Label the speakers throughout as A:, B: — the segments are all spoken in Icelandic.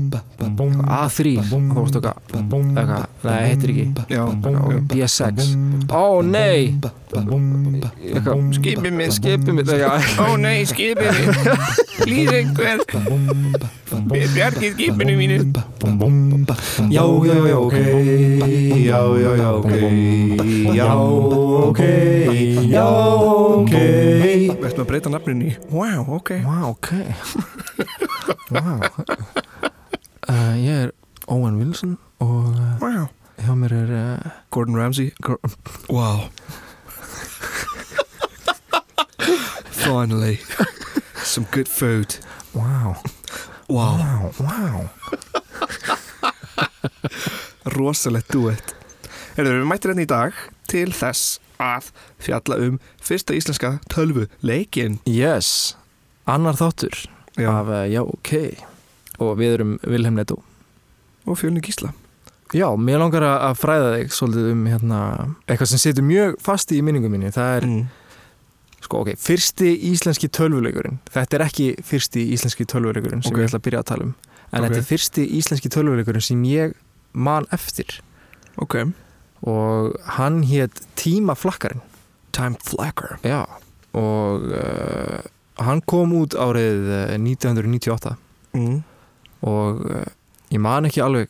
A: A3 Þá varstu eitthvað eitthvað, Nei, heitir ekki
B: Já,
A: B6 Ó nei Eitthvað,
B: Skipið mitt.
A: Skipið mitt eitthvað.
B: Ó nei, skipið mitt Lýs einhver Bjargið skipinu mínu
C: Já, já, já, ok Já, já, já, ok Já, ok Já, ok
B: Vertu að breyta nafninu í Wow, ok
A: Vá, ok Vá Eh, Ég er Owen Wilson og eh,
B: Wow
A: hjá mér er eh,
B: Gordon Ramsay Gor Wow Finally Some good food
A: Vá,
B: Wow
A: vá, vá
B: Rosalegt duett Herðu, við mættir hérna í dag til þess að fjalla um fyrsta íslenska tölvu leikinn
A: Yes, annar þáttur
B: Já,
A: af eh, Já, ok og við erum Vilhelm Netto
B: og fjölni Gísla
A: Já, mér langar að að fræða þig svolítið um hérna, eitthvað sem situr mjög fasti í minningum minni, það er
B: mm.
A: sko, ok, fyrsti íslenski tölvuleikurinn þetta er ekki fyrsti íslenski tölvuleikurinn sem
B: Ok.
A: ég ætla að byrja að tala um en
B: Ok.
A: þetta er fyrsti íslenski tölvuleikurinn sem ég man eftir
B: Ok
A: og hann hétt Tímaflakkarinn
B: Time Flacker
A: Já, og uh, hann kom út árið eh, 1998
B: mm.
A: og uh, ég man ekki alveg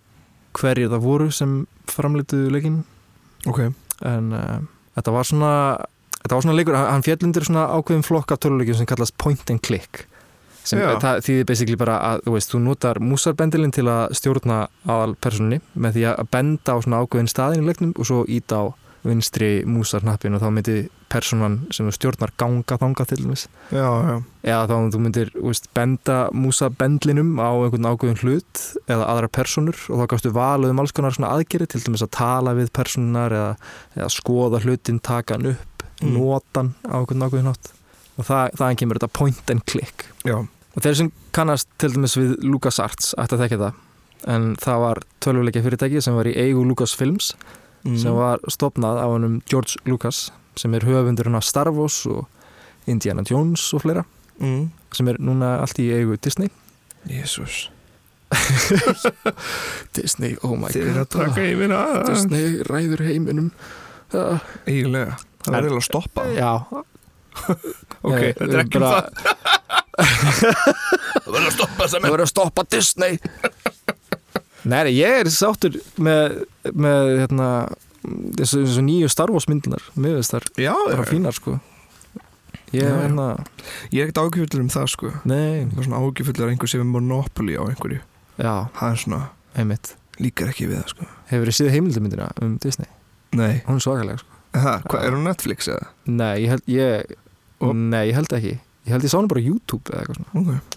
A: hverjir það voru sem framlituðu leikinn
B: Ok
A: en uh, þetta var svona þetta var svona leikur, hann, hann fjall undir svona ákveðin flokk af töluleikjum sem kallast point and click sem
B: Já.
A: það þýðir basically bara að þú veist, þú notar músarbendilinn til að stjórna aðal personni með því að benda á svona ákveðin staðin í leiknum og svo íta á vinstri músarnappin og þá myndi personan sem þú stjórnar ganga þanga til dæmis
B: Já, já
A: eða þá þú myndir þú veist, benda músabendlinum á einhvern ákveðin hlut eða aðra personur og þá gafstu valið um alls konar svona aðgerið til dæmis að tala við personar eða, eða skoða hlutin, taka hann upp
B: Mm.
A: notan á einhvern ákveðin hátt og það, þaðan kemur þetta point and click
B: Já,
A: og þeir sem kannast til dæmis við LucasArts ætti að þekka það en það var tölvuleikja fyrirtæki sem var í eigu Lucasfilms
B: mm.
A: sem var stopnað á hennum George Lucas sem er höfundur hennar Star Wars og Indiana Jones og fleira
B: mm.
A: sem er núna allt í eigu Disney
B: Jésús
A: Disney, oh my Ah.
B: Þeir eru að taka yfir aðeins
A: Disney ræður heiminum uh,
B: Ígilega Það
A: En-
B: er eiginlega að stoppa
A: Já
B: Ok,
A: Nei,
B: þetta er ekki um
A: bara-
B: það Það verður að stoppa sem
A: Það verður að stoppa Disney Nei, nei, ég er sáttur með, með hérna, þessu, þessu nýju Star Wars myndunar Mér veist þar
B: Já,
A: bara
B: já.
A: fínar sko Ég
B: Já,
A: er
B: já.
A: hérna,
B: ég er ekkert ágjöfullur um það sko
A: nei,
B: Það er svona ágjöfullur að einhver sem er monopoli á einhverju
A: já,
B: Það er svona
A: einmitt
B: líkar ekki við það sko
A: Hefur þið síðið heimildumyndina um Disney?
B: Nei
A: Hún er svakalega sko
B: Aha, Hvað, er hún Netflix eða?
A: Nei, ég held, ég,
B: Og-
A: nei, ég held ekki Ég held ég sá hann bara á YouTube eða eitthvað svona
B: Ok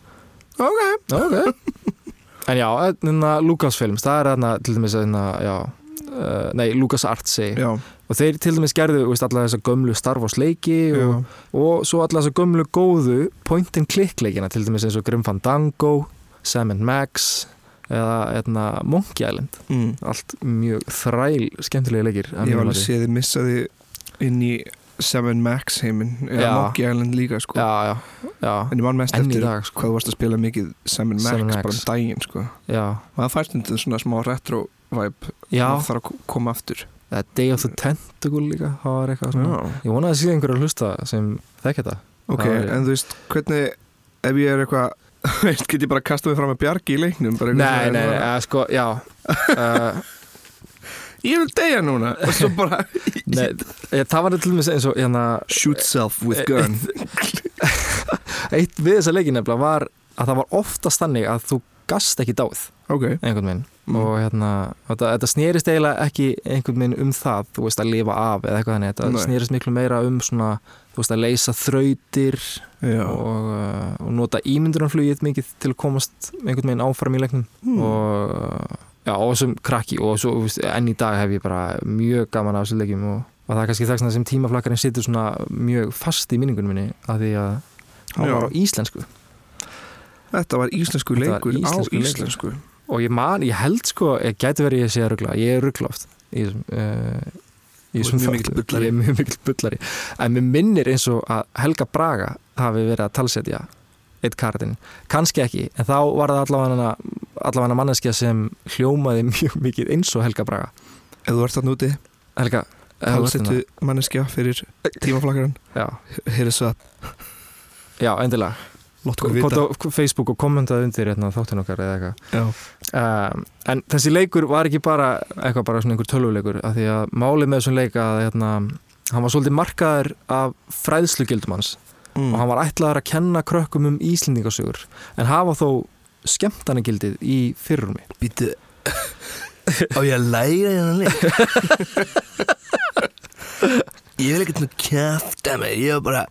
A: Ok En já, hérna Lucasfilms, það er hérna til dæmis hérna, já Uh, nei, LucasArts segi
B: Já,
A: og þeir til dæmis gerðu þú veist, alla þessa gömlu Star Wars leiki
B: já,
A: og, og svo alla þessa gömlu góðu point and click leikina til dæmis eins og Grim Fandango, Sam and Max eða hérna, Monkey Island
B: mm.
A: allt mjög þræl skemmtilega leikir að
B: Ég
A: mínu
B: hef alveg
A: mati.
B: séð sko. þið missa þið inn í Seven Max heiminn eða
A: Já.
B: Monkey Island líka sko
A: já, já, já,
B: En ég man mest
A: enn í
B: eftir
A: dag sko.
B: hvað þú varst að spila mikið Seven Max,
A: Sam
B: Seven
A: Max.
B: Max. bara um daginn sko
A: já,
B: Maður fær stundum svona smá retro vibe
A: já,
B: Maður þarf að ko- koma aftur
A: eða Day of the Tentacle líka, það var eitthvað svona
B: Já.
A: Ég vona að það sé einhverju að hlusta sem þekkja þetta
B: Ok,
A: Það er-
B: en þú veist, hvernig ef ég er eitthvað veist, get ég bara kasta mig fram með bjargi í leiknum bara
A: Nei,
B: eitthvað
A: nei, nei,
B: svona,
A: eða sko, já uh,
B: Ég vil deyja núna og svo bara
A: nei, eh, Það var til dæmis eins og hérna,
B: shoot self with gun
A: Eitt við þessa leikin nefnilega var að það var oftast þannig að þú gast ekki dáð
B: Ok,
A: einhvern veginn
B: Mm.
A: og hérna, þetta, þetta snerist eiginlega ekki einhvern veginn um það, þú veist að lifa af eða eitthvað þannig, þetta
B: Nei.
A: snerist miklu meira um svona, þú veist að leysa þrautir
B: já
A: og, uh, og nota ímyndunarflugið mikið til að komast einhvern veginn áfram í leiknum
B: Hmm.
A: og uh, já, og sem krakki og svo, þú veist, enn í dag hef ég bara mjög gaman af þessu leikjum og, og það er kannski þess vegna sem tímaflakkarinn situr svona mjög fast í minningunum minni af því að hann
B: Já.
A: var á íslensku
B: Þetta var íslensku
A: Þetta var
B: leikur
A: íslenskur
B: á
A: leikur.
B: íslensku
A: og ég man, ég held sko, ég gæti verið ég sé að ruggla, ég er ruggla oft í þessum uh,
B: Þú ert mjög mikill bullari.
A: ég er mjög mikill bullari en mér minnir eins og að Helga Braga hafi verið að talsetja eitt karatinn, kannski ekki en þá var það allavega allavega manneskja sem hljómaði mjög mikið eins og Helga Braga
B: Ef þú ert þarna úti,
A: Helga, ef þú ert
B: halsettu manneskja fyrir tímaflakkaran,
A: hérna- já,
B: heyrðu svo að
A: já, endilega
B: láta okkur vita.
A: Kota á Facebook og kommentaði undir hérna, þáttun okkar eða eitthvað
B: Já.
A: um, en þessi leikur var ekki bara eitthvað bara svona einhver tölvuleikur af því að málið með þessum leik að hérna, hann var svolítið markaður af fræðslugildum hans og hann
B: Mm.
A: var ætlaður að kenna krökkum um Íslendingasögur en hafa þó skemmtanagildið í fyrrumi
C: Býtu Á ég að læra hérna leik Ég vil ekkert nú kæfta mig Ég vil bara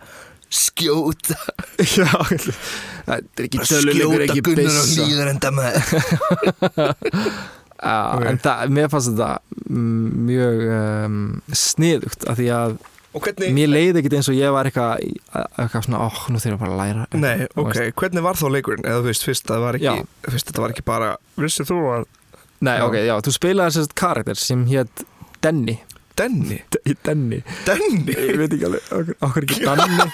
C: skjóta
A: Já, það er ekki
C: Bara skjóta Gunnar og
A: byssa.
C: hlýðar enda með
A: Já,
B: Ok.
A: en það, mér fannst þetta mm, mjög um, sniðugt af því að
B: Og hvernig,
A: mér leiði ekkit eins og ég var eitthvað í- eitthvað svona, óh, nú þurfum ég bara að læra
B: nei,
A: Þú
B: ok,
A: veist.
B: hvernig var þá leikurinn? Eða þú veist, fyrst það var ekki,
A: Já.
B: fyrst þetta var ekki bara, vissið þú að
A: Nei,
B: Já.
A: ok, já, þú spilaði sérst karakter sem hétt Denny
B: Denni,
A: Denny?
B: Denni,
A: Ég veit ekki alveg, okkur, okkur ekki Danny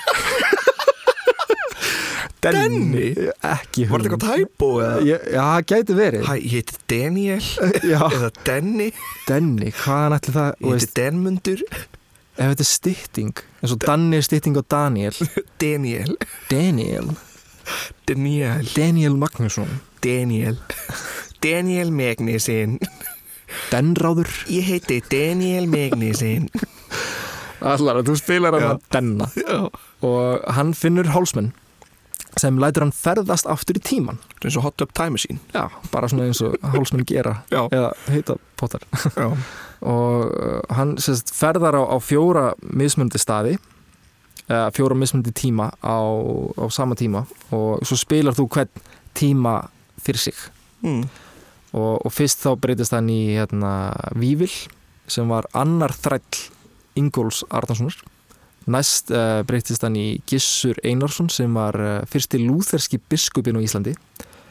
A: Denny? Ekki
B: var þetta eitthvað tæpo eða?
A: Já, já, það gæti verið
B: Hæ, ég heiti Daniel
A: Já,
B: eða Denni,
A: Denny, hvaðan ætli það
B: ég
A: þú
B: heiti
A: veist,
B: Denmundur
A: Ef þetta er stytting eins og Danny er stytting á Daniel
B: Daniel,
A: Daniel,
B: Daniel
A: Daniel Magnússon
B: Daniel Daniel Magnusin
A: Denráður
B: Ég heiti Daniel Magnusin
A: Allara, þú spilar hann
B: Já.
A: að Denna og hann finnur hálsmenn sem lætur hann ferðast aftur í tíman
B: eins og Hot Up Time Machine
A: Já, bara svona eins og hálsmenn gera
B: Já.
A: eða heita potar
B: Já.
A: og uh, hann sérst, ferðar á, á fjóra mismundi staði eða fjóra mismundi tíma á, á sama tíma og svo spilar þú hvern tíma fyrir sig
B: Mm.
A: og, og fyrst þá breytist hann í hérna, Vívill sem var annar þræll Ingóls Arnarssonar næst uh, breytist hann í Gissur Einarsson sem var uh, fyrsti lúþerski biskupin á Íslandi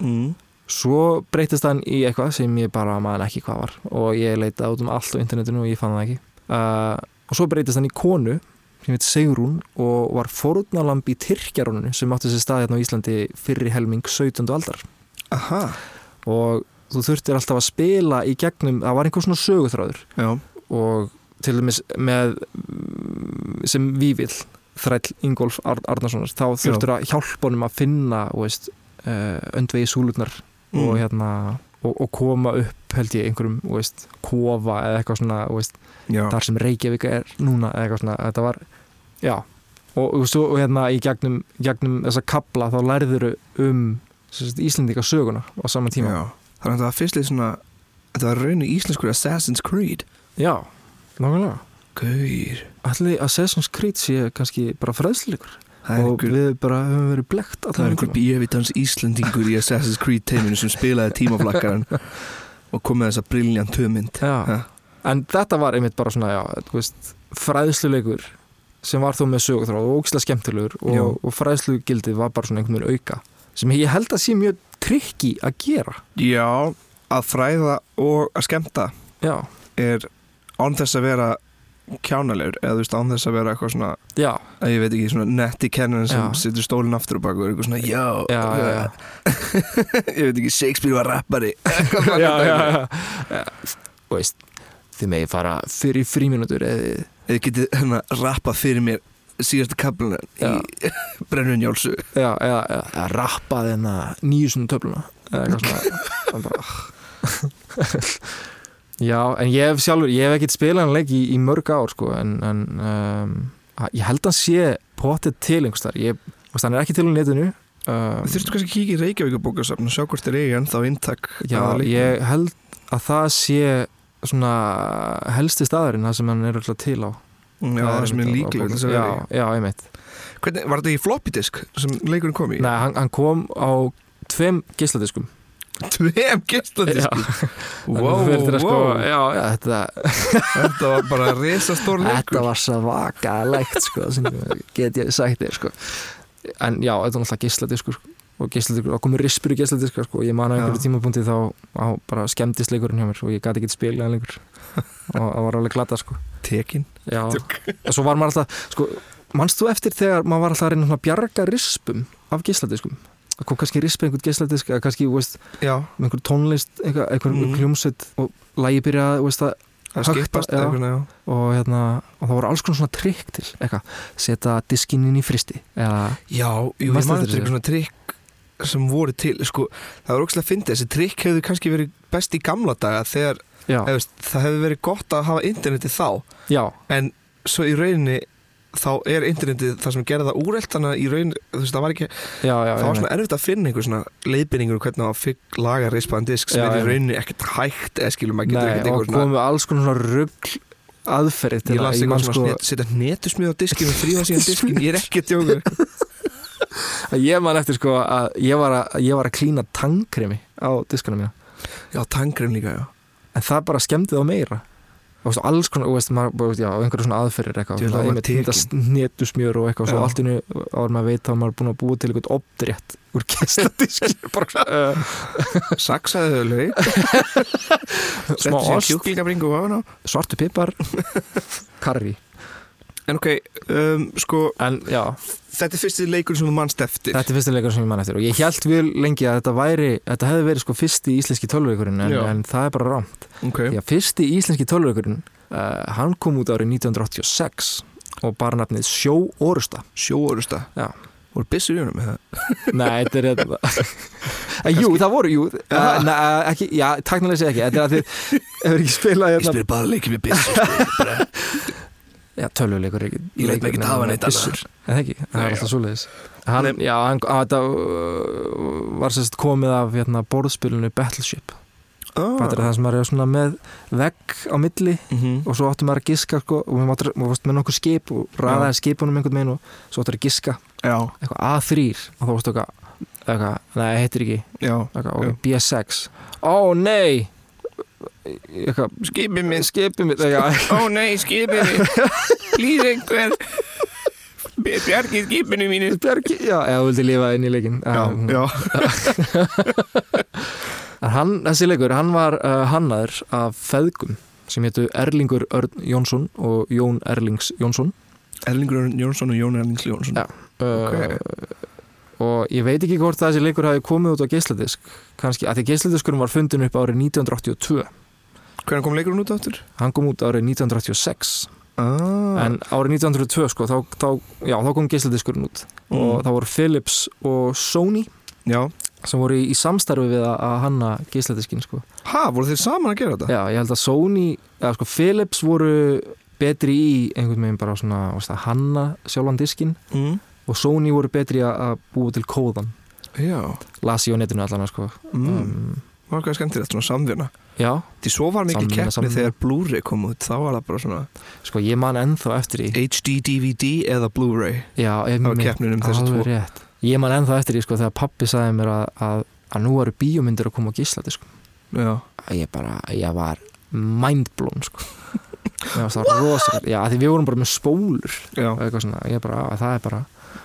B: Mm.
A: svo breytist hann í eitthvað sem ég bara man ekki hvað var og ég leitaði út um allt á internetinu og ég fann það ekki uh, og svo breytist hann í konu sem heit Segrún og var fornalamb í Tyrkjaruninu sem átti sér staði hérna á Íslandi fyrri helming 17. aldar
B: Aha
A: og þú þurftir alltaf að spila í gegnum, það var einhver svona söguþráður
B: Já.
A: og til dæmis með mm, sem Vívill þræll Ingolf Ar Arnarssonar þá þurftur að hjálpa honum að finna þú veist, uh, öndvegi súlurnar og,
B: Mm.
A: hérna, og, og koma upp held ég einhverjum þú veist, kofa eða eitthvað svona þú veist,
B: Já.
A: þar sem Reykjavík er núna eða eitthvað svona þetta var, já og, og svo hérna í gegnum, gegnum þessa kabla þá lærður um Íslendika söguna á sama tíma
B: Já. Þannig að það var fyrst leið svona þetta var raunni íslenskur Assassin's Creed
A: Já, nákvæmlega
B: Gauir
A: Allir Assassin's Creed sé kannski bara fræðsleikur
B: Það er
A: og
B: einhver
A: við bara höfum verið blekt
B: Það er
A: allan
B: einhver
A: tíma.
B: bíövitans Íslandingur í Assassin's Creed teiminu sem spilaði tímaflakkaran og kom með þessa briljant hömynd
A: Já,
B: Ha.
A: en þetta var einmitt bara svona, já, þú veist, fræðsluleikur sem var þó með sögutráð og ógislega skemmtilegur
B: Já.
A: og, og fræðslugildið var bara svona einhvern veginn auka sem ég held að sé mjög trikki að gera
B: Já, að fræða og að skemmta
A: Já,
B: er án þess að vera kjánalegur eða þú veist án þess að vera eitthvað svona
A: já,
B: að ég veit ekki svona netti kennan sem
A: Já.
B: setur stólinn aftur og bak og er eitthvað svona já,
A: já, já, já.
B: ég veit ekki Shakespeare var rappari
A: já, já, já, já. Þú veist, þið megi fara fyrir fríminútur eða
B: eða getið hérna rappað fyrir mér síðasta kapluna
A: Já.
B: í brennun Jólsu
A: já, eða, eða, eða rappa þennan nýju svona töfluna eða eitthvað svona Það er bara, ah. já, en ég hef sjálfur ég hef ekkert spilað hann leik í, í mörg ár sko, en, en um, að- ég held að hann sé potið til einhvers þar ég, þú veist, hann er ekki til á netinu um,
B: Þurftu kannski að kíkja í Reykjavík bókasafn og sjá hvort þeir eigi ennþá inntak
A: já,
B: að leiknum.
A: ég held að það sé svona helsti staðurinn það sem hann er alltaf til á
B: Mm, já, það sem er
A: einmitt á- á
B: líklega
A: bókum.
B: til þess að
A: já,
B: vera í.
A: já, einmitt
B: Hvernig, var þetta í floppy disk sem leikurinn kom í?
A: Nei, hann, hann kom á tveim geisladiskum
B: Tveim gistladiskum
A: Þannig
B: wow, wow.
A: að þú þurftir að sko, já, já, þetta,
B: Þetta var bara risastór leikur
A: Þetta var svo vakalegt sko, sem get ég sagt þér sko. En já, þetta var náttúrulega geisladiskur sko. og geisladiskur, þá komur rispur í geisladiskar sko. ég man á einhverju
B: Já.
A: tímapunkti þá á, bara skemmtist leikurinn hjá mér og ég gæti ekki spilað hann lengur og það var alveg glata sko.
B: Tekin
A: Já, og svo var maður alltaf sko, manst þú eftir þegar maður var alltaf að reyna svona að bjarga rispum af geisladiskum það kom kannski rispa einhvern geisladisk eða kannski, þú veist,
B: já,
A: með einhver tónlist einhver, einhver
B: Mhm.
A: hljómsveit og lægi byrjaði, þú veist, að
B: að
A: Hökta,
B: skiptast
A: já.
B: eða eitthvað, já.
A: og hérna, og það voru alls konar svona trikk til, eitthvað, setja diskinn inn í fristi eða,
B: Já, jú, ég
A: Manstu
B: man
A: eftir þessu?
B: eftir eitthvað svona trikk sem voru til, sko, það var ógæslega að fyndi þessi trikk hefðu kannski verið best í gamla daga þegar,
A: já,
B: hefðu, það hefði verið gott að hafa interneti þá,
A: já
B: en svo í rauninni þá er internetið það sem gerði það úrelt þannig að í rauninni, þú veist, það var ekki
A: já, já,
B: það var
A: einmitt.
B: svona erfitt að finna einhver svona leiðbyrningur hvernig það var fyrr laga rispaðan disk sem
A: Já,
B: er í
A: einmitt.
B: rauninni ekkert hægt eða skilum maður getur
A: Nei,
B: ekkert
A: og
B: einhver svona
A: komu alls konar svona rugg aðferði til
B: ég las
A: það, man
B: eitthvað svona
A: sko-
B: snet- setja netusmið á diskin og þrýfa síðan diskin, ég er ekki að djóka
A: að ég man eftir sko að ég var að, ég var að klína tangkremi á diskunum mína
B: já, tangrem líka, já
A: en það bara skemmdi þá meira og veist, alls konar, og veist, maður, bara, veist, já, einhverju svona aðferðir eitthvað,
B: Djú, það var tekin.
A: netu smjör og eitthvað, og svo
B: Já.
A: allt innu áður maður veit að maður er búin að búa til eitthvað opdrétt úr gestadiski, bara svona
B: Eh,
A: uh,
B: Saksaðu þau lauk
A: smá
B: Settu síðan
A: ost,
B: kjúklingabringu ofan á
A: svartu pipar karri,
B: En ok, um, sko
A: en já
B: Þetta er fyrsti leikur sem þú mannst eftir
A: þetta er fyrsti leikur sem ég man eftir og ég held vel lengi að þetta væri, þetta hefði verið sko fyrsti íslenski tölvleikurinn, en,
B: Já.
A: en það er bara rám
B: okay.
A: því að fyrsti íslenski tölvleikurinn uh, hann kom út árið 1986 og bara nafnið Sjó Orusta
B: Sjóorusta
A: Já.
B: Voru byssur í honum með það
A: Nei, þetta er þetta Eh, Jú, það voru, jú uh, na, ekki, Já, takkilega sé ekki Þetta er að þið hefur ekki spilað
C: Ég
A: hérna,
C: spyr bara leikið með byssu sko. Bara,
A: Já, tölvuleikur ekki
C: Ég læt mig ekkert hafa neitt annað.
A: En það ekki, það
B: Nei,
A: er alltaf svoleiðis hann, Já, hann, að, þetta uh, var sérst komið af hérna, borðspilinu Battleship
B: ah.
A: Þetta er það sem maður er svona með vegg á milli
B: mm -hmm.
A: og svo áttum maður að giska sko, og við máttum við varst með nokkuð skip og ræðaði skipunum einhvern veginn og svo áttum að giska
B: Já,
A: eitthvað A3 og þá varstu eitthvað, eitthvað, nei, heitir ekki
B: já
A: eitthvað,
B: Já.
A: okay, B6 ó nei eitthvað,
B: Skipið minn
A: skipið mitt eitthvað,
B: Ó nei, skipið minn Lýð einhver Bjargið skipinu mínu
A: bjargi, já, eða þú vildi lifa inn í leikin
B: Já, já
A: En hann, þessi leikur, hann var uh, hannaður af feðgum sem hétu Erlingur Örn Jónsson og Jón Erlings Jónsson
B: Erlingur Örn Jónsson og Jón Erlings Jónsson
A: Já. Uh, og ég veit ekki hvort að þessi leikur hafi komið út á geisladisk kannski, að því geisladiskurinn var fundin upp árið 1982
B: Hvernig kom leikurinn út áttur?
A: hann kom út árið 1986
B: Ah.
A: en árið 1902 sko, þá, þá, já, þá kom geisladiskurinn út
B: Mm.
A: og það voru Philips og Sony
B: Já
A: sem voru í í samstarfi við að- að hanna geisladiskin sko.
B: Ha, voru þeir saman að gera þetta?
A: já, ég held að Sony, eða sko Philips voru betri í einhvern veginn bara svona, veist, að hanna sjálfan diskin
B: Mm.
A: og Sony voru betri í að að búa til kóðan
B: Já
A: las ég á netinu allan sko.
B: mm.
A: um,
B: Var hvað skemmtilegt svona samvinna
A: já,
B: Því svo var mikið
A: Samvinna,
B: keppni
A: samvinna.
B: þegar Blu-ray kom út Þá var það bara svona
A: sko ég man ennþá eftir í
B: HD DVD eða Blu-ray
A: já,
B: Það var
A: einmitt,
B: keppnin um þessi
A: alveg
B: tvo
A: rétt ég man ennþá eftir í sko, þegar pappi sagði mér að, að, að nú eru bíómyndir að koma á geisladisk
B: Já,
A: að ég bara, ég var mindblown sko Mér fannst það rosalega, já, af því við vorum bara með spólur
B: já
A: og eitthvað svona, ég bara, að það er bara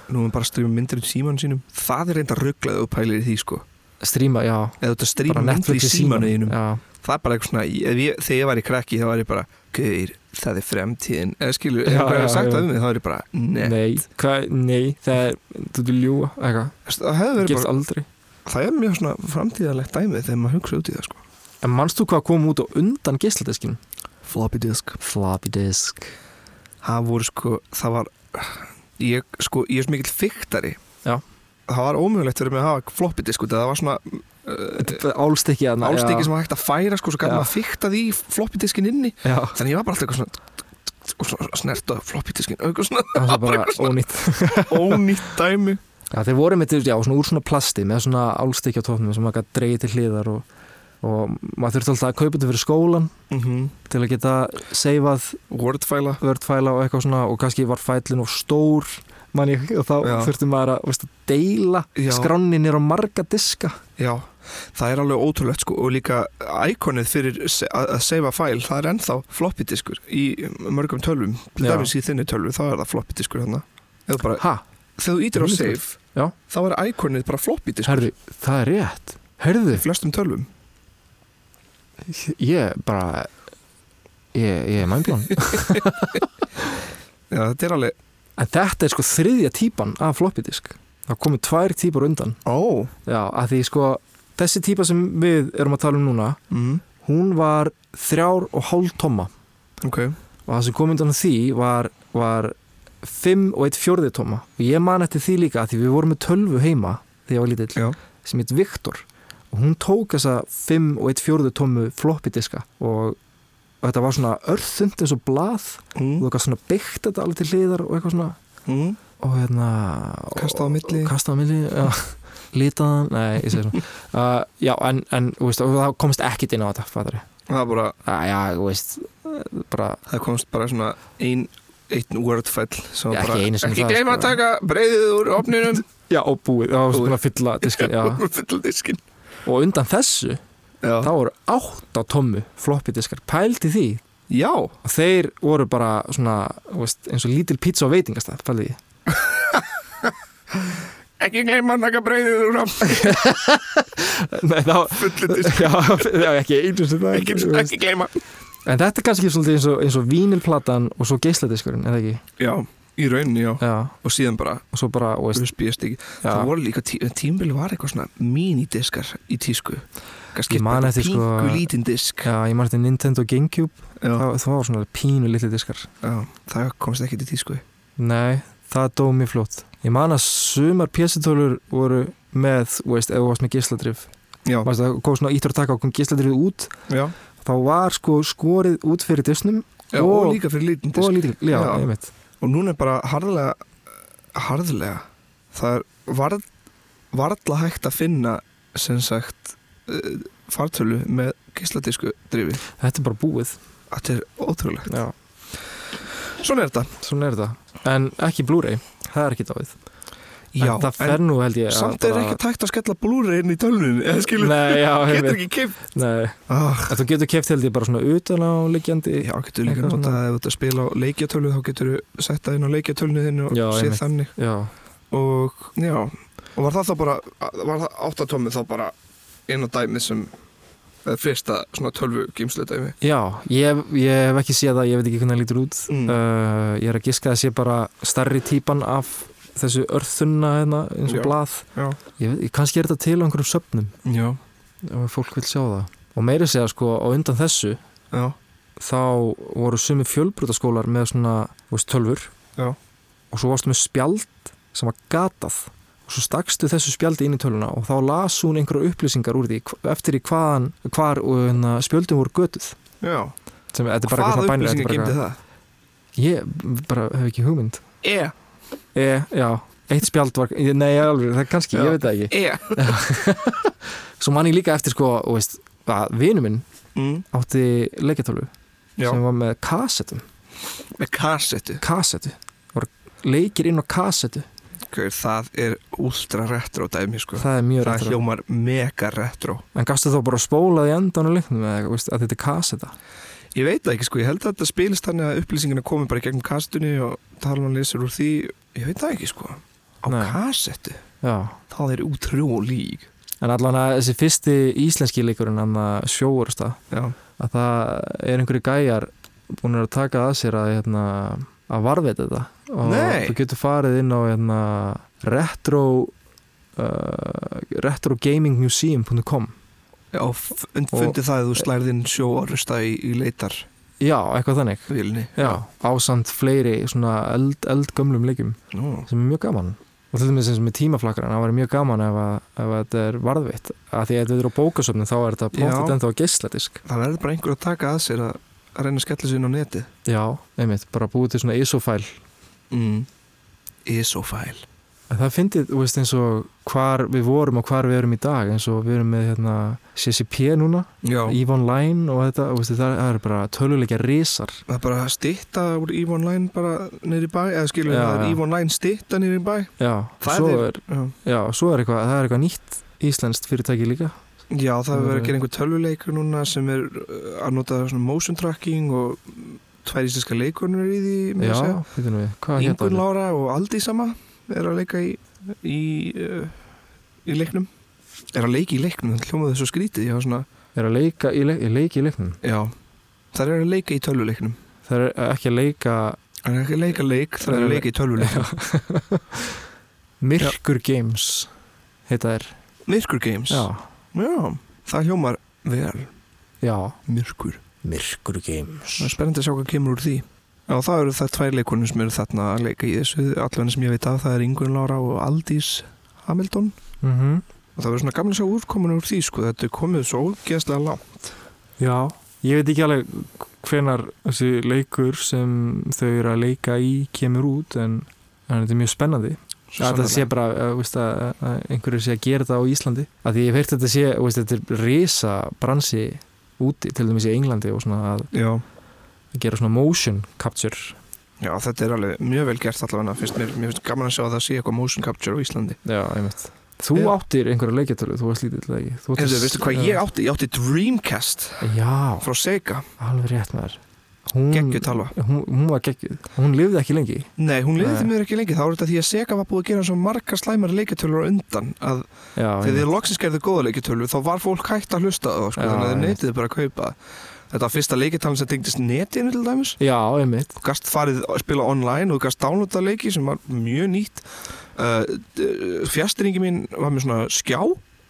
B: Nú er bara að strýma myndir í símanum sínum Það er reynda rugglaðið og pælir í því sko
A: stríma, já,
B: Eða þú ert að strýma
A: bara
B: myndir í
A: Netflix í símanum
B: símanum þínum
A: já,
B: Það er bara eitthvað svona ég- ef ég, Þegar ég var í krakki þá var ég bara Gauðir, það er fremtíðin Eða skilur,
A: Já,
B: ef einhver
A: já,
B: hefði sagt
A: já.
B: það um mig Þá er ég bara, ne
A: nei, hvað, nei það er, þú vil ljúa, eitthvað
B: Það hefði verið
A: gerst
B: bara
A: aldrei,
B: Það er mjög svona framtíðalegt dæmið Þegar maður hugsa út í það sko
A: en manst þú hvað kom út á undan geisladiskin?
B: Floppy disk
A: Floppy disk
B: Það voru sko, það var Ég, sko, ég er svo mikill fyrktari
A: Já.
B: Það var ómögulegt fyrir mig að hafa floppy disk út af því að Það var svona
A: álstikki að
B: álstikki sem var hægt að færa sko, svo gæti
A: Já.
B: maður að fykta því floppy diskin inni
A: já,
B: þannig ég var bara alltaf eitthvað svona og svona snerta floppy diskin og eitthvað svona
A: það var bara ónýtt
B: ónýtt dæmi
A: Já, þeir voru með til, já, svona úr svona plasti með svona álstikki á tóknum sem maður gæti dreigið til hliðar og, og maður þurfti alltaf að kaupa þetta fyrir skólan
B: mm -hmm.
A: til að geta seifað Ah.
B: wordfæla
A: vördfæla og eitthvað svona og kannski var fælin og stór man ég, og þá
B: Já.
A: þurfti maður að, veist, að deila
B: Já.
A: skránni nýr á marga diska
B: já, það er alveg ótrúlegt sko og líka íkonið fyrir se- að að seifa fæl það er ennþá floppy diskur í mörgum tölvum til
A: Já.
B: dæmis í þinni tölvu þá er það floppy diskur þarna eða bara,
A: ha,
B: þegar þú ítir á
A: Mjög
B: save
A: Já.
B: þá er íkonið bara floppy diskur
A: herðu, það er rétt
B: í
A: herðu,
B: flestum tölvum
A: ég bara ég, ég er mænblán
B: já, þetta er alveg
A: en þetta er sko þriðja típan af floppy disk það komu tvær típar undan
B: Ó,
A: já, að því sko þessi típa sem við erum að tala um núna
B: mm,
A: hún var þrjár og hálf tomma
B: ok
A: og það sem kom undan því var, var fimm og eitt fjórði tomma og ég man eftir því líka að því við vorum með tölvu heima þegar ég var lítill
B: Já,
A: sem heit Viktor og hún tók þessa 5 og 1 fjórðu tómu floppy diska og, og þetta var svona örþund eins og blað og
B: mm,
A: þú gæst svona byggt þetta alveg til hliðar og eitthvað svona
B: mm,
A: og hérna
B: Kastað á milli.
A: og kastað á milli já, litaðan, nei, ég segi svona uh, já, en, en þú veist, og það komst ekkit inn á þetta fattari,
B: það bara,
A: uh, já, þú veist eh, bara,
B: það komst bara svona ein, einn wordfell sem var
A: Já,
B: bara,
A: ekki einu sinni
B: ekki
A: það,
B: gleyma að
A: sko.
B: taka breyðið úr opninum
A: já, og búið það var
B: Búið.
A: svona að fylla diskin, já
B: fulla diskin
A: og undan þessu,
B: Já,
A: þá voru átta tómu floppy diskar, pældi því
B: já,
A: og þeir voru bara svona þú veist, eins og lítil pizza á veitingastæð fælið ég
B: ekki gleyma að taka breyðið úr opninum
A: Nei, þá,
B: fulla diskin
A: já, já, ekki einu sem það
B: ekki,
A: þú veist.
B: ekki gleyma
A: En þetta er kannski svolítið eins og, eins og vínilplatan og svo geisladiskurinn, eða ekki?
B: Já, í rauninni, já
A: Já,
B: og síðan bara
A: og svo bara, þú veist,
B: USB-stikki það
A: já,
B: voru líka, tí, tímbili var eitthvað svona minidiskar í tísku kannski
A: Ég man
B: bara
A: eftir, sko,
B: pingu lítinn disk
A: já, ég marði Nintendo Gamecube,
B: já,
A: það, það var svona pínu litli diskar.
B: já, það komst ekki til tísku
A: Nei, það dó mér flott. Ég man að sumar pjessitölur voru með, þú veist, ef þú varst með geisladrif.
B: já,
A: Þú veist, það kom svona íttur að taka okkur geisladrifið út,
B: já,
A: þá var sko skorið út fyrir disnum
B: já og,
A: Og-
B: líka fyrir lítinn disk
A: og lítið, já,
B: Já.
A: ég veit.
B: og núna er bara harðlega harðlega það er varð, varðla hægt að finna sem sagt eh, fartölu með geisladisku drifi
A: Þetta er bara búið,
B: þetta er ótrúlegt
A: já,
B: svona er þetta
A: svona er þetta. En ekki Blu-ray, það er ekki dáið.
B: já,
A: en það fer nú held ég að
B: samt er
A: bara-
B: ekki tækt að skella blúri inn í tölunni eða skilur,
A: Nei, já, ég
B: getur
A: veit
B: ekki kip
A: Nei,
B: ah,
A: en þú getur keft held ég bara svona utan á liggjandi
B: já, getur líka
A: Eitthvað
B: notað
A: svona.
B: að ef þú ert að spila á leikjatölu þá getur þú sett það inn á leikjatölunni þinn og
A: Já,
B: séð
A: einmitt.
B: þannig
A: Já,
B: og já, og var það þá bara var það áttatómið þá bara inn á dæmið sem eða fyrsta svona tölvu gímslu dæmi
A: já ég, ég hef ekki séð það, ég veit ekki hvernig það lítur út
B: Mm.
A: uh, Ég er að giska að sé bara starri típan af þessu örþunna hérna, eins og
B: Já.
A: blað
B: já,
A: ég veit, Kannski er þetta til á einhverjum söfnum
B: já,
A: og fólk vil sjá það Og meiri segja sko, á undan þessu
B: já,
A: þá voru sumi fjölbrutaskólar með svona, þú veist, tölfur
B: Já.
A: og svo varstu með spjald sem var gatað og svo stakstu þessu spjaldi inn í töluna og þá las hún einhverja upplýsingar úr því hv- eftir í hvaðan, hvar og hérna, spjöldum voru götuð
B: já.
A: sem, þetta er bara
B: hvað
A: eitthvað bænir
B: upplýsingar gímdi
A: eitthvað,
B: það?
A: ég bara hef ekki hugmynd
B: E,
A: e, já, eitt spjald var nei, alveg, það er kannski,
B: Já.
A: ég veit það ekki
B: e
A: svo man ég líka eftir sko, þú veist, að vinu minn
B: mm,
A: átti leikjartölu
B: já,
A: sem var með kassettum
B: með kassetu
A: kassettu, voru leikir inn á kassettu
B: Hver, það er ultra retro dæmi sko
A: það er mjög
B: það
A: rétt
B: hljómar mega retro
A: en gastu þá bara að spóla því endan og leiknum eða eitthvað, veist, að þetta er kasseta
B: Ég veit það ekki sko, ég held að þetta spilist þannig að upplýsingina komi bara í gegnum kastunni og talan lesur úr því, ég veit það ekki sko á
A: Nei.
B: kassetu,
A: já.
B: það er útrúlík
A: en allan að þessi fyrsti íslenski leikurinn hann að sjóursta
B: Já,
A: að það er einhverju gæjar búin að taka að sér að hérna, að varðveita þetta og
B: Nei.
A: þú getur farið inn á hérna, retro uh, retrogamingmuseum.com
B: já f- und- fundið það að þú slærið inn sjóorusta í, í leitarvilni
A: já, eitthvað þannig já, ásamt fleiri svona eld, eldgömlum leikum
B: Nú,
A: sem er mjög gaman og til dæmis eins og með tímaflakkaran, það væri mjög gaman ef, að, ef að þetta er varðvitt að því að þetta er á bókasöfnum þá er þetta plóttið
B: Já.
A: ennþá á geisladisk
B: Það verður bara einhver að taka að sér að, að reyna að skella sér inn á neti
A: já, einmitt, bara búið til svona ISO-fæl
B: mm. Isofæl
A: en það fyndið, þú veist, eins og hvar við vorum og hvar við erum í dag eins og við erum með hérna, CCP núna
B: Já,
A: EVE Online og þetta og veist, það, það er bara töluleikja risar
B: það er bara að stýtta úr Eve Online bara niður í bæ eða skilur
A: Já,
B: það er
A: já.
B: Eve Online stýtta niður í bæ
A: já,
B: Það
A: svo
B: er-
A: er,
B: Já,
A: já, svo er eitthvað, það er eitthvað nýtt íslenskt fyrirtæki líka
B: Já, það hefur verið að
A: Þannig að-
B: gera einhver tölvuleikur núna sem er uh, að nota svona motion tracking og mm, tvær íslenska leikunur í því meira að
A: já,
B: segja.
A: veitum við, hvað hérna
B: Ingun Lára og Aldi sama er að leika í, í, uh, í leiknum er að leika í leiknum, það hljómaði svo skrítið ég var svona,
A: er að leika í, leik, í leik í leiknum
B: já það er að leika í tölvuleiknum
A: það er ekki að leika
B: það er ekki að leika leik, það er að leika í tölvuleiknum
A: Myrkur Games heita þér
B: Myrkur Games
A: Já,
B: Já, það hljómar vel
A: já
B: Myrkur
A: Myrkur Games
B: Það er spennandi að sjá hvað kemur úr því Já, það eru það tvær leikonir sem eru þarna að leika í þessu allan sem ég veit af, það er Ingun Lára og Aldís Hamilton
A: mm
B: og það verður svona gamlega sá úrkomin úr því sko, þetta er komið svo ógeðslega langt
A: Já, ég veit ekki alveg hvenar þessi leikur sem þau eru að leika í kemur út en, en þetta er mjög spennandi
B: Svo
A: að það sé
B: sannarlega.
A: bara uh, veist, að, að einhverju sé að gera þetta á Íslandi að því ég hef heyrt að þetta sé veist, þetta er risa bransi úti til dæmis í Englandi og svona að
B: Já,
A: að gera svona motion capture
B: já, þetta er alveg mjög vel gert allavega finnst mér, mér finnst gaman að sjá að það sé eitthvað motion capture á Íslandi
A: Já, einmitt Þú
B: Já.
A: áttir einhverja leikjartölu, þú varst lítið leiki Þú
B: Hefðu, veistu hvað
A: uh,
B: ég átti? Ég átti Dreamcast
A: Já,
B: frá Sega,
A: alveg rétt maður hún,
B: geggjuð talva
A: hún, hún var geggjuð, hún lifði ekki lengi
B: Nei, hún liði
A: Nei.
B: því mér ekki lengi, þá er þetta því að Sega var búið að gera svo margar slæmar leikitölur á undan að
A: Já,
B: þegar
A: einmitt.
B: þið loksins gerðu góða leikitölvu þá var fólk hægt að hlusta á það
A: Já,
B: sko, þannig að þið
A: einmitt.
B: neytið bara að kaupa þetta var fyrsta leikitalin sem tengdist netinu til dæmis
A: Já, einmitt
B: þú gast farið að spila online og þú gast downloada leiki sem var mjög nýtt uh, fjastringi mín var með svona skjá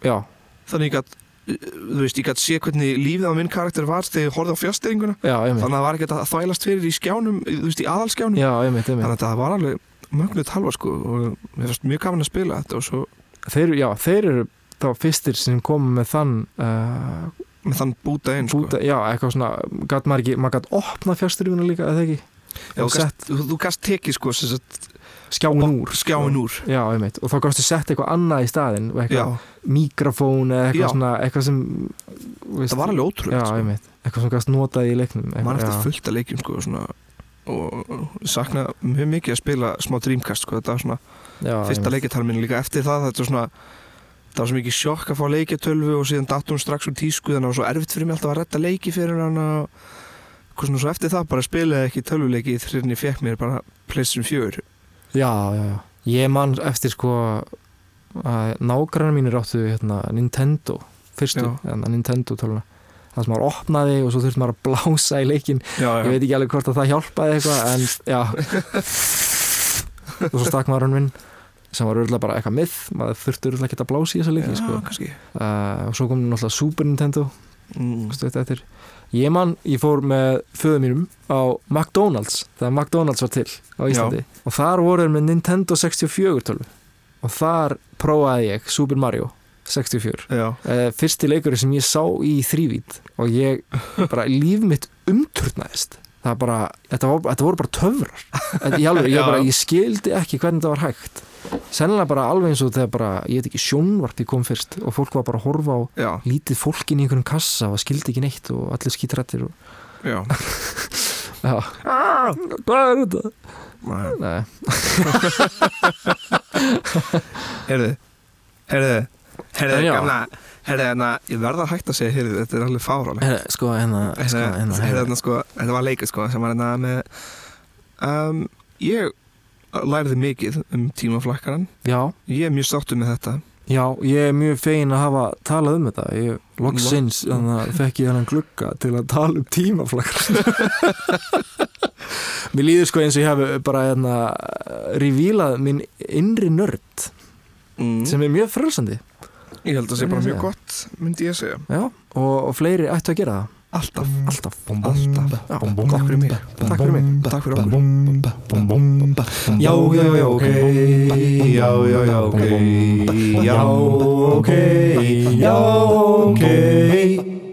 A: Já,
B: þannig ég gat uh, þú veist, ég gat sé hvernig lífið á minn karakter var þegar ég horfði á fjastringuna
A: já, einmitt
B: þannig að það var ekkert að þvælast fyrir í skjánum þú veist, í aðalskjánum
A: Já, einmitt,
B: um- þannig
A: einmitt
B: að það var alveg mögnuð talva sko og mér fannst mjög gaman að spila þetta og svo
A: þeir, Já, þeir eru þá fyrstir sem komu með þann uh,
B: með þann búta einn sko
A: búta, Já, eitthvað svona, gat maður ekki maður gat opna fjárstyrfuna líka, eða ekki
B: Já, þú,
A: og
B: gast, þú, þú gast tekið sko sem sagt,
A: skjáin úr
B: skjáin úr
A: Já, einmitt, og þá gafstu sett eitthvað annað í staðinn og
B: já,
A: eitthvað mikrofón eða
B: Já.
A: eitthvað svona, eitthvað sem veist,
B: það var alveg
A: Já,
B: ótrúlega sko.
A: einmitt, eitthvað sem gafst notað í leiknum eitthvað-
B: mann eftir
A: já.
B: fullt að leikjum sko, svona, og og sakna mjög mikið að spila smá Dreamcast sko, þetta var svona
A: já,
B: fyrsta
A: einmitt.
B: leikjartalminu líka eftir það þetta var svona það var svo mikið sjokk að fá leikjartölvu og síðan datum strax úr tísku þannig að það var svo erfitt fyrir mig alltaf að retta leiki fyrir hana og eitthvað svona svo eftir það bara spilaði ekki tölvuleiki þegar ég fekk mér bara Playstation 4
A: Já, já, já. Ég man eftir sko að nágrannar mínir áttu hérna, Nintendo, fyrstu,
B: Já.
A: hérna, Nintendo töluna. Það sem maður opnaði og svo þurfti maður að blása í leikin.
B: já,
A: Ég veit ekki alveg hvort að það hjálpaði eitthvað, en já. og svo stakk maður hann minn sem var örgulega bara eitthvað mið, maður þurfti örgulega ekki að blása í þessa leiki, sko.
B: kannski
A: Uh, og svo kom náttúrulega Super Nintendo,
B: mm.
A: stutt eftir. Ég man, ég fór með föðu mínum á McDonalds, þegar McDonalds var til á Íslandi og þar voru þeir með Nintendo 64 tölvu og þar prófaði ég Super Mario 64
B: já,
A: eh, fyrsti leikur sem ég sá í þrývít og ég, bara líf mitt umturnaðist það bara, þetta, var, þetta voru bara töfrar Þetta- ég, alveg, ég,
B: Já.
A: bara, ég skildi ekki hvernig þetta var hægt sennilega bara alveg eins og þegar bara ég veit ekki, sjónvarpi kom fyrst og fólk var bara að horfa á
B: já,
A: lítið fólkin í einhvern kassa og það skildi ekki neitt og allir skítrættir og...
B: já
A: Já, hvað er þetta?
B: Nei.
A: Nei,
B: Herðu, herðu, herðu,
A: En já.
B: gamla, herðu, hérna, ég verða hægt að segja, herðu, þetta er alveg fáránlegt.
A: Herra, sko, hérna, sko,
B: Herðu,
A: hérna,
B: herðu, hérna, sko, þetta var leikur, sko, sem var hérna með, um, ég læriði mikið um tímaflakkaran,
A: Já,
B: ég er mjög sáttur með þetta.
A: já, ég er mjög fegin að hafa talað um þetta Ég loksins,
B: Lo-
A: þannig að fekk ég hennan glugga til að tala um tímaflakar Mér líður sko eins og ég hafi bara, hérna, revílað minn innri nörd
B: Mm.
A: sem er mjög frelsandi
B: ég held að það sé
A: Hvernig
B: bara
A: að
B: mjög
A: segja?
B: gott, myndi ég segja.
A: Já, og, og fleiri ættu að gera það
B: Alltaf.
A: Alltaf
B: Alltaf.
A: Já,
B: Takk fyrir mig. Takk fyrir mig. Takk fyrir okkur.
A: Já, já, já, ok Já, já, já, ok Já, ok Já, ok